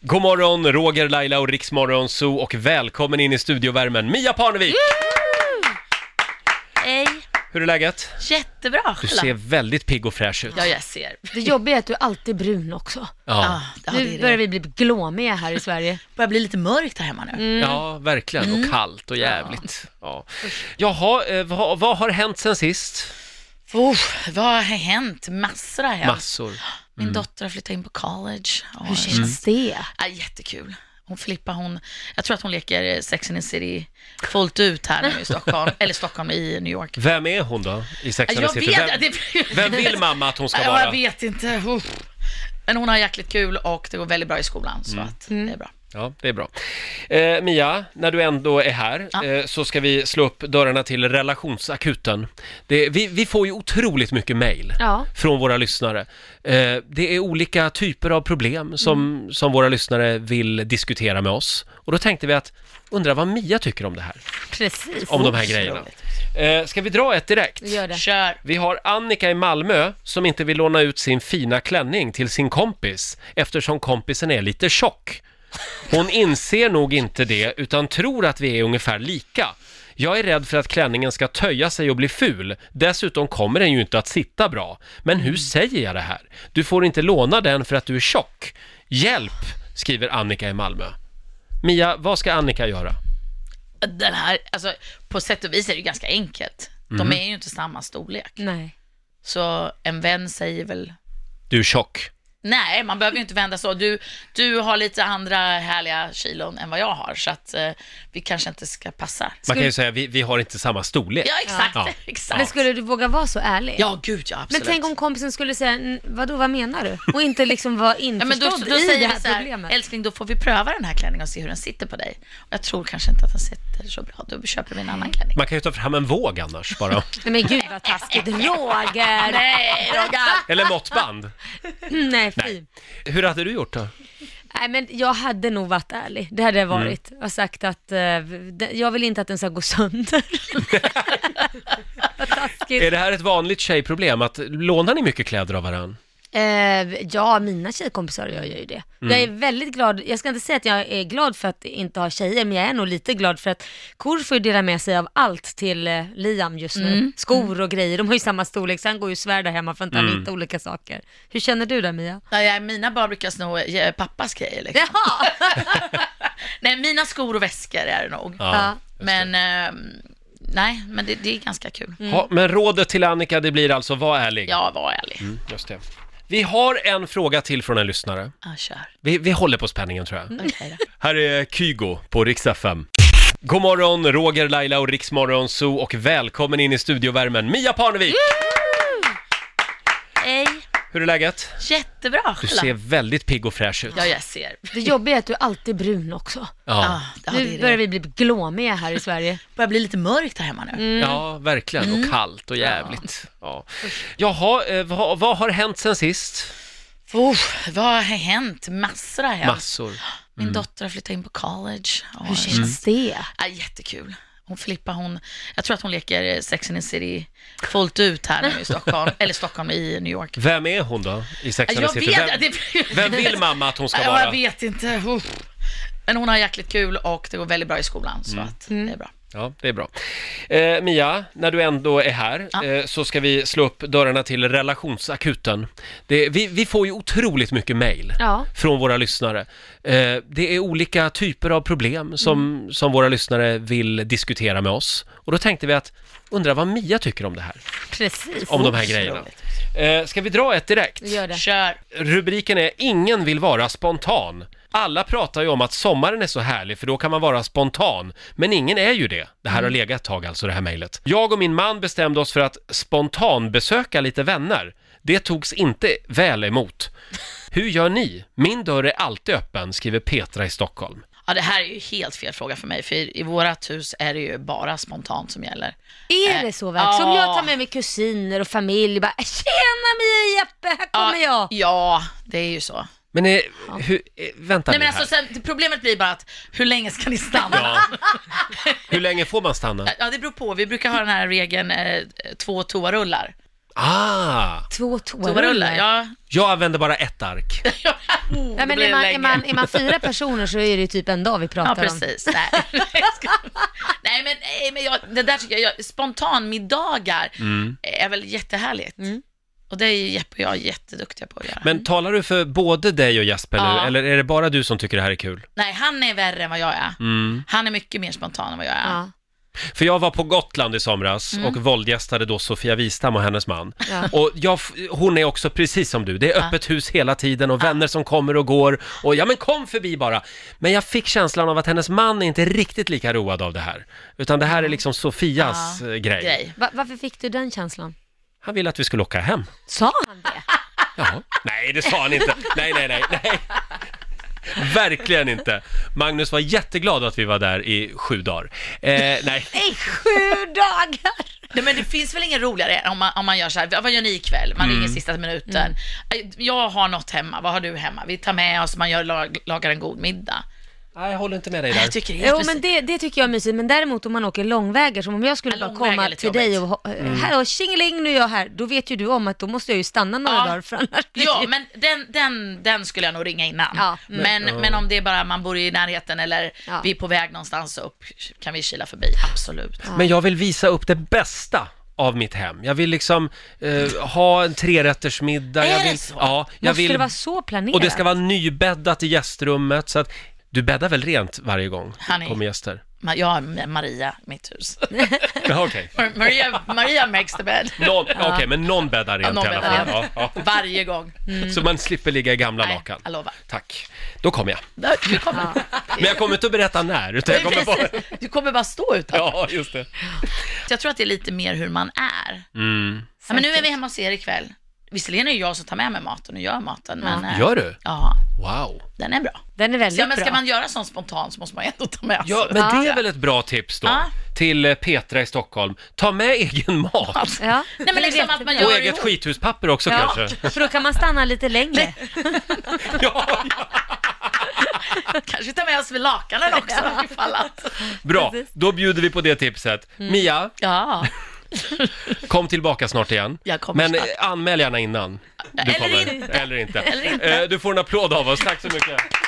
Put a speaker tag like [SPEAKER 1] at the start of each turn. [SPEAKER 1] God morgon, Roger, Laila och Riksmorgon Zoo och välkommen in i studiovärmen, Mia Parnevik!
[SPEAKER 2] Hej!
[SPEAKER 1] Hur är läget?
[SPEAKER 2] Jättebra
[SPEAKER 1] Du
[SPEAKER 2] Charlotte.
[SPEAKER 1] ser väldigt pigg och fräsch ut.
[SPEAKER 2] Ja, Ah. jag ser.
[SPEAKER 3] Det jobbiga är att du alltid är brun också.
[SPEAKER 1] Ja,
[SPEAKER 2] ja,
[SPEAKER 3] nu
[SPEAKER 2] det är
[SPEAKER 3] börjar
[SPEAKER 2] det.
[SPEAKER 3] vi bli glåmiga här i Sverige.
[SPEAKER 2] börjar bli lite mörkt här hemma nu.
[SPEAKER 1] ja verkligen.
[SPEAKER 2] Mm.
[SPEAKER 1] Och kallt och jävligt. Ja. Jaha, eh, vad, vad har hänt sen sist?
[SPEAKER 2] Uff, vad har hänt? Massor har hänt.
[SPEAKER 1] Massor.
[SPEAKER 2] Min dotter har flyttat in på college. Och,
[SPEAKER 3] Hur känns det?
[SPEAKER 2] ja, jättekul. Hon Filippa, hon, jag tror att hon leker eh, Sex and the City fullt ut här nu i Stockholm, eller Stockholm i New York.
[SPEAKER 1] Vem är hon då i Sex and the
[SPEAKER 2] Jag
[SPEAKER 1] City?
[SPEAKER 2] vet,
[SPEAKER 1] Vem,
[SPEAKER 2] det-
[SPEAKER 1] vem vill mamma att hon ska
[SPEAKER 2] Ja, jag
[SPEAKER 1] vara?
[SPEAKER 2] vet inte. Uff. Men hon har jäkligt kul och det går väldigt bra i skolan, så att det är bra.
[SPEAKER 1] Ja, det är bra. Eh, Mia, när du ändå är här
[SPEAKER 2] Ja.
[SPEAKER 1] eh, så ska vi slå upp dörrarna till relationsakuten. Det, vi, vi får ju otroligt mycket mejl
[SPEAKER 3] Ja.
[SPEAKER 1] från våra lyssnare. Eh, det är olika typer av problem som, som våra lyssnare vill diskutera med oss. Och då tänkte vi att, undra vad Mia tycker om det här,
[SPEAKER 3] Precis.
[SPEAKER 1] om de här grejerna. Eh, ska vi dra ett direkt?
[SPEAKER 3] Gör det.
[SPEAKER 2] Kör!
[SPEAKER 1] Vi har Annika i Malmö som inte vill låna ut sin fina klänning till sin kompis eftersom kompisen är lite tjock. Hon inser nog inte det utan tror att vi är ungefär lika. Jag är rädd för att klänningen ska töja sig och bli ful. Dessutom kommer den ju inte att sitta bra. Men hur säger jag det här? Du får inte låna den för att du är tjock. Hjälp, skriver Annika i Malmö. Mia, vad ska Annika göra?
[SPEAKER 2] Den här, alltså på sätt och vis är det ju ganska enkelt. De är ju inte samma storlek.
[SPEAKER 3] Nej.
[SPEAKER 2] Så en vän säger väl,
[SPEAKER 1] Du är tjock.
[SPEAKER 2] nej man behöver ju inte vända så. Du, du har lite andra härliga kilon än vad jag har, så att eh, vi kanske inte ska passa.
[SPEAKER 1] Man kan ju säga, vi, vi har inte samma storlek.
[SPEAKER 2] Ja, exakt.
[SPEAKER 1] Ja.
[SPEAKER 2] exakt.
[SPEAKER 3] Men skulle du våga vara så ärlig?
[SPEAKER 2] Ja, gud ja,
[SPEAKER 3] Men
[SPEAKER 2] absolut.
[SPEAKER 3] tänk om kompisen skulle säga, "N- vadå, vad menar du? Och inte liksom vara
[SPEAKER 2] Ja, men
[SPEAKER 3] införstådd
[SPEAKER 2] då, då
[SPEAKER 3] i det
[SPEAKER 2] säger
[SPEAKER 3] här
[SPEAKER 2] vi så här,
[SPEAKER 3] problemet.
[SPEAKER 2] älskling, då får vi pröva den här klänningen och se hur den sitter på dig. Och jag tror kanske inte att den sitter så bra, då köper vi en annan klänning.
[SPEAKER 1] Man kan ju ta fram en våg annars bara.
[SPEAKER 3] Nej men gud vad taskigt. Roger!
[SPEAKER 2] Nej, Roger!
[SPEAKER 1] Eller måttband.
[SPEAKER 3] Mm, Nej, fy.
[SPEAKER 1] Hur hade du gjort då?
[SPEAKER 3] Nej men jag hade nog varit ärlig, det hade jag varit. Och sagt att eh, den- jag vill inte att den ska gå sönder. Vad taskigt.
[SPEAKER 1] Är det här ett vanligt tjejproblem? Att lånar ni mycket kläder av varann?
[SPEAKER 3] Eh, ja, mina tjejkompisar och jag gör ju det. Jag
[SPEAKER 1] Mm.
[SPEAKER 3] är väldigt glad, jag ska inte säga att jag är glad för att inte ha tjejer, men jag är nog lite glad för att Kor får ju dela med sig av allt till eh, Liam just nu.
[SPEAKER 2] Mm.
[SPEAKER 3] Skor och grejer, de har ju samma storlek, så han går ju och svär där hemma för att
[SPEAKER 1] Mm.
[SPEAKER 3] han hittar olika saker. Hur känner du där Mia?
[SPEAKER 2] Nej, mina barn brukar sno eh, pappas grejer liksom.
[SPEAKER 3] Jaha!
[SPEAKER 2] Nej, mina skor och väskor är det nog.
[SPEAKER 3] Ja.
[SPEAKER 2] Men ehm, nej, men det, det är ganska kul.
[SPEAKER 1] Ha, men rådet till Annika, det blir alltså var ärlig.
[SPEAKER 2] Ja, var ärlig.
[SPEAKER 1] Mm, Just det. Vi har en fråga till från en lyssnare.
[SPEAKER 2] Ja, kör.
[SPEAKER 1] Vi, vi håller på spänningen tror jag.
[SPEAKER 3] Mm.
[SPEAKER 2] Okej då.
[SPEAKER 1] Här är Kygo på Rix FM. God morgon, Roger, Laila och Riksmorgon Zoo och välkommen in i studiovärmen, Mia Parnevik!
[SPEAKER 2] Mm. Hej,
[SPEAKER 1] Hur är läget?
[SPEAKER 2] jättebra
[SPEAKER 1] Du
[SPEAKER 2] Charlotte.
[SPEAKER 1] ser väldigt pigg och fräsch ut.
[SPEAKER 2] Ja, jag ser.
[SPEAKER 3] Det jobbiga är att du alltid är brun också.
[SPEAKER 1] Ja,
[SPEAKER 2] Ah, ja, det,
[SPEAKER 3] Nu
[SPEAKER 2] är det.
[SPEAKER 3] börjar vi bli glåmiga här i Sverige.
[SPEAKER 2] börjar bli lite mörkt här hemma nu.
[SPEAKER 3] Mm.
[SPEAKER 1] ja verkligen.
[SPEAKER 2] Mm.
[SPEAKER 1] Och kallt och jävligt. Ja. Jaha, eh, vad, vad har hänt sen sist?
[SPEAKER 2] Uff, vad har hänt? Massor har hänt.
[SPEAKER 1] Massor. Mm.
[SPEAKER 2] Min dotter har flyttat in på college. Och,
[SPEAKER 3] Hur känns det?
[SPEAKER 2] ja, jättekul. Hon Filippa, hon, jag tror att hon leker eh, Sex and the City fullt ut här nu i Stockholm, eller Stockholm i New York.
[SPEAKER 1] Vem är hon då i Sex
[SPEAKER 2] Ja,
[SPEAKER 1] and the
[SPEAKER 2] Jag
[SPEAKER 1] City?
[SPEAKER 2] vet,
[SPEAKER 1] Vem,
[SPEAKER 2] det-
[SPEAKER 1] vem vill mamma att hon ska
[SPEAKER 2] Ja, jag
[SPEAKER 1] vara?
[SPEAKER 2] vet inte. Uff. Men hon har jäkligt kul och det går väldigt bra i skolan, så
[SPEAKER 1] Mm.
[SPEAKER 2] att
[SPEAKER 3] Mm.
[SPEAKER 2] det är bra.
[SPEAKER 1] Ja, det är bra. Eh, Mia, när du ändå är här
[SPEAKER 2] Ja.
[SPEAKER 1] eh, så ska vi slå upp dörrarna till relationsakuten. Det, vi, vi får ju otroligt mycket mejl
[SPEAKER 3] Ja.
[SPEAKER 1] från våra lyssnare. Eh, det är olika typer av problem som,
[SPEAKER 2] Mm.
[SPEAKER 1] som våra lyssnare vill diskutera med oss. Och då tänkte vi att, undra vad Mia tycker om det här,
[SPEAKER 3] Precis.
[SPEAKER 1] om de här grejerna. Eh, ska vi dra ett direkt?
[SPEAKER 3] Gör det.
[SPEAKER 2] Kör!
[SPEAKER 1] Rubriken är “Ingen vill vara spontan”. Alla pratar ju om att sommaren är så härlig för då kan man vara spontan. Men ingen är ju det. Det här har legat ett tag alltså, det här mejlet. Jag och min man bestämde oss för att spontanbesöka lite vänner. Det togs inte väl emot. Hur gör ni? Min dörr är alltid öppen, skriver Petra i Stockholm.
[SPEAKER 2] Ja, det här är ju helt fel fråga för mig, för i vårat hus är det ju bara spontant som gäller.
[SPEAKER 3] Är det så verkligen? Som
[SPEAKER 2] Äh, ja.
[SPEAKER 3] jag tar med mig kusiner och familj bara “Tjena Mia och Jeppe, här kommer jag!”
[SPEAKER 2] Ja, det är ju så.
[SPEAKER 1] Men eh, hur, eh, vänta
[SPEAKER 2] Nej
[SPEAKER 1] nu
[SPEAKER 2] men
[SPEAKER 1] här.
[SPEAKER 2] alltså, sen, det- problemet blir bara att hur länge ska ni stanna? Ja.
[SPEAKER 1] Ja. Hur länge får man stanna?
[SPEAKER 2] det beror på. Vi brukar ha den här regeln eh, två toarullar.
[SPEAKER 1] Ah!
[SPEAKER 3] Två
[SPEAKER 2] Toarullar,
[SPEAKER 3] toarullar.
[SPEAKER 2] ja.
[SPEAKER 1] Jag använder bara ett ark.
[SPEAKER 2] Oh,
[SPEAKER 3] Nej,
[SPEAKER 2] då
[SPEAKER 3] men
[SPEAKER 2] blir
[SPEAKER 3] är
[SPEAKER 2] det
[SPEAKER 3] man, är,
[SPEAKER 2] länge.
[SPEAKER 3] man, är man fyra personer så är det ju typ en dag vi
[SPEAKER 2] Ja,
[SPEAKER 3] pratar om.
[SPEAKER 2] precis. Nej, Jag ska- nej men, nej, men jag, det där tycker jag, jag spontanmiddagar
[SPEAKER 1] Mm.
[SPEAKER 2] är väl jättehärligt.
[SPEAKER 3] Mm.
[SPEAKER 2] Och det är ju Jeppe och jag jätteduktiga på att göra.
[SPEAKER 1] Men talar du för både dig och Jasper nu,
[SPEAKER 2] Ja.
[SPEAKER 1] eller är det bara du som tycker det här är kul?
[SPEAKER 2] Nej, han är värre än vad jag är.
[SPEAKER 1] Mm.
[SPEAKER 2] Han är mycket mer spontan än vad jag är.
[SPEAKER 3] Ja,
[SPEAKER 1] För jag var på Gotland i somras och våldgästade då Sofia Wistam och hennes man.
[SPEAKER 3] Ja.
[SPEAKER 1] Och jag, f- hon är också precis som du, det är öppet hus hela tiden och vänner som kommer och går och ja men kom förbi bara. Men jag fick känslan av att hennes man är inte riktigt lika road av det här. Utan det här är liksom Sofias
[SPEAKER 2] Ja,
[SPEAKER 1] eh, grej.
[SPEAKER 2] Grej.
[SPEAKER 3] Va- varför fick du den känslan?
[SPEAKER 1] Han ville att vi skulle åka hem.
[SPEAKER 3] Sa han det?
[SPEAKER 1] Jaha. Nej, det sa han inte. Nej, nej, nej, nej. Verkligen inte. Magnus var jätteglad att vi var där i sju dagar. Eh, nej.
[SPEAKER 3] I sju dagar!
[SPEAKER 2] Nej, men det finns väl ingen roligare än om man, om man gör så här, vad gör ni ikväll? Man ringer sista
[SPEAKER 3] Mm.
[SPEAKER 2] minuten. Jag har något hemma, vad har du hemma? Vi tar med oss, man gör, lag, lagar en god middag.
[SPEAKER 1] Nej, jag håller inte med dig
[SPEAKER 2] Jag
[SPEAKER 1] där.
[SPEAKER 2] tycker det är
[SPEAKER 3] Jo
[SPEAKER 2] jätteprecis-
[SPEAKER 3] men det, det tycker jag är mysigt, men däremot om man åker långvägar, som om jag skulle
[SPEAKER 2] Ja,
[SPEAKER 3] bara
[SPEAKER 2] långväga är
[SPEAKER 3] komma
[SPEAKER 2] lite
[SPEAKER 3] till dig och
[SPEAKER 2] jobbigt.
[SPEAKER 3] ha-
[SPEAKER 1] Mm.
[SPEAKER 3] hallå tjingeling nu är jag här, då vet ju du om att då måste jag ju stanna några
[SPEAKER 2] Ja.
[SPEAKER 3] dagar för annars blir
[SPEAKER 2] Ja,
[SPEAKER 3] det-
[SPEAKER 2] men den, den, den skulle jag nog ringa innan.
[SPEAKER 3] Ja.
[SPEAKER 2] Men, men om det är bara man bor i närheten eller
[SPEAKER 3] Ja.
[SPEAKER 2] vi är på väg någonstans upp kan vi kila förbi, absolut.
[SPEAKER 1] Men jag vill visa upp det bästa av mitt hem. Jag vill liksom eh, ha en trerättersmiddag.
[SPEAKER 2] Är
[SPEAKER 1] jag
[SPEAKER 2] det
[SPEAKER 1] vill,
[SPEAKER 2] så?
[SPEAKER 1] Ja, jag
[SPEAKER 3] Måste
[SPEAKER 1] vill,
[SPEAKER 3] det vara så planerat?
[SPEAKER 1] och det ska vara nybäddat i gästrummet. Så att, du bäddar väl rent varje gång
[SPEAKER 2] Han
[SPEAKER 1] det
[SPEAKER 2] är-
[SPEAKER 1] kommer gäster?
[SPEAKER 2] Ma- Jag har Ma- Maria, i mitt hus.
[SPEAKER 1] Ja, okej.
[SPEAKER 2] Mar- Maria, Maria makes the bed.
[SPEAKER 1] Någon, okej, men någon bäddar rent
[SPEAKER 2] någon
[SPEAKER 1] i alla
[SPEAKER 2] bäddar
[SPEAKER 1] fall. Ja, ja.
[SPEAKER 2] Varje gång.
[SPEAKER 1] Så man slipper ligga i gamla
[SPEAKER 2] Nej,
[SPEAKER 1] lakan.
[SPEAKER 2] jag lovar.
[SPEAKER 1] Tack. Då kommer jag.
[SPEAKER 2] Där, Du kommer,
[SPEAKER 1] Men jag kommer inte att berätta när, utan jag kommer bara...
[SPEAKER 2] Precis. du kommer bara stå utanför.
[SPEAKER 1] Ja, just det.
[SPEAKER 2] Jag tror att det är lite mer hur man är.
[SPEAKER 1] Mm.
[SPEAKER 2] Ja, men nu är vi hemma hos er ikväll. Visserligen är det jag som tar med mig maten och gör maten, men... eh,
[SPEAKER 1] Gör du?
[SPEAKER 2] Ja,
[SPEAKER 1] Wow.
[SPEAKER 2] den är bra.
[SPEAKER 3] Den är väldigt
[SPEAKER 2] Ja, men ska
[SPEAKER 3] bra.
[SPEAKER 2] man göra sånt spontant så måste man ju ändå ta med
[SPEAKER 1] Ja,
[SPEAKER 2] sig.
[SPEAKER 1] men det är väl ett bra tips då,
[SPEAKER 2] Ja.
[SPEAKER 1] till eh, Petra i Stockholm. Ta med egen mat.
[SPEAKER 3] Ja.
[SPEAKER 2] Nej, men
[SPEAKER 3] Det är
[SPEAKER 2] liksom att
[SPEAKER 3] jättebra.
[SPEAKER 2] man gör
[SPEAKER 1] Och
[SPEAKER 2] det
[SPEAKER 1] eget
[SPEAKER 2] ihop.
[SPEAKER 1] skithuspapper också kanske.
[SPEAKER 3] För då kan man stanna lite längre.
[SPEAKER 1] Ja, ja.
[SPEAKER 2] Kanske ta med oss vid lakanen också ifall att...
[SPEAKER 1] Bra,
[SPEAKER 3] Precis.
[SPEAKER 1] då bjuder vi på det tipset.
[SPEAKER 2] Mm.
[SPEAKER 1] Mia,
[SPEAKER 2] Ja,
[SPEAKER 1] kom tillbaka snart igen.
[SPEAKER 2] Jag kommer
[SPEAKER 1] Men eh,
[SPEAKER 2] snart.
[SPEAKER 1] anmäl gärna innan du
[SPEAKER 2] Eller
[SPEAKER 1] kommer.
[SPEAKER 2] inte.
[SPEAKER 1] Eller inte.
[SPEAKER 2] Eller inte.
[SPEAKER 1] Eh, Du får en applåd av oss, tack så mycket.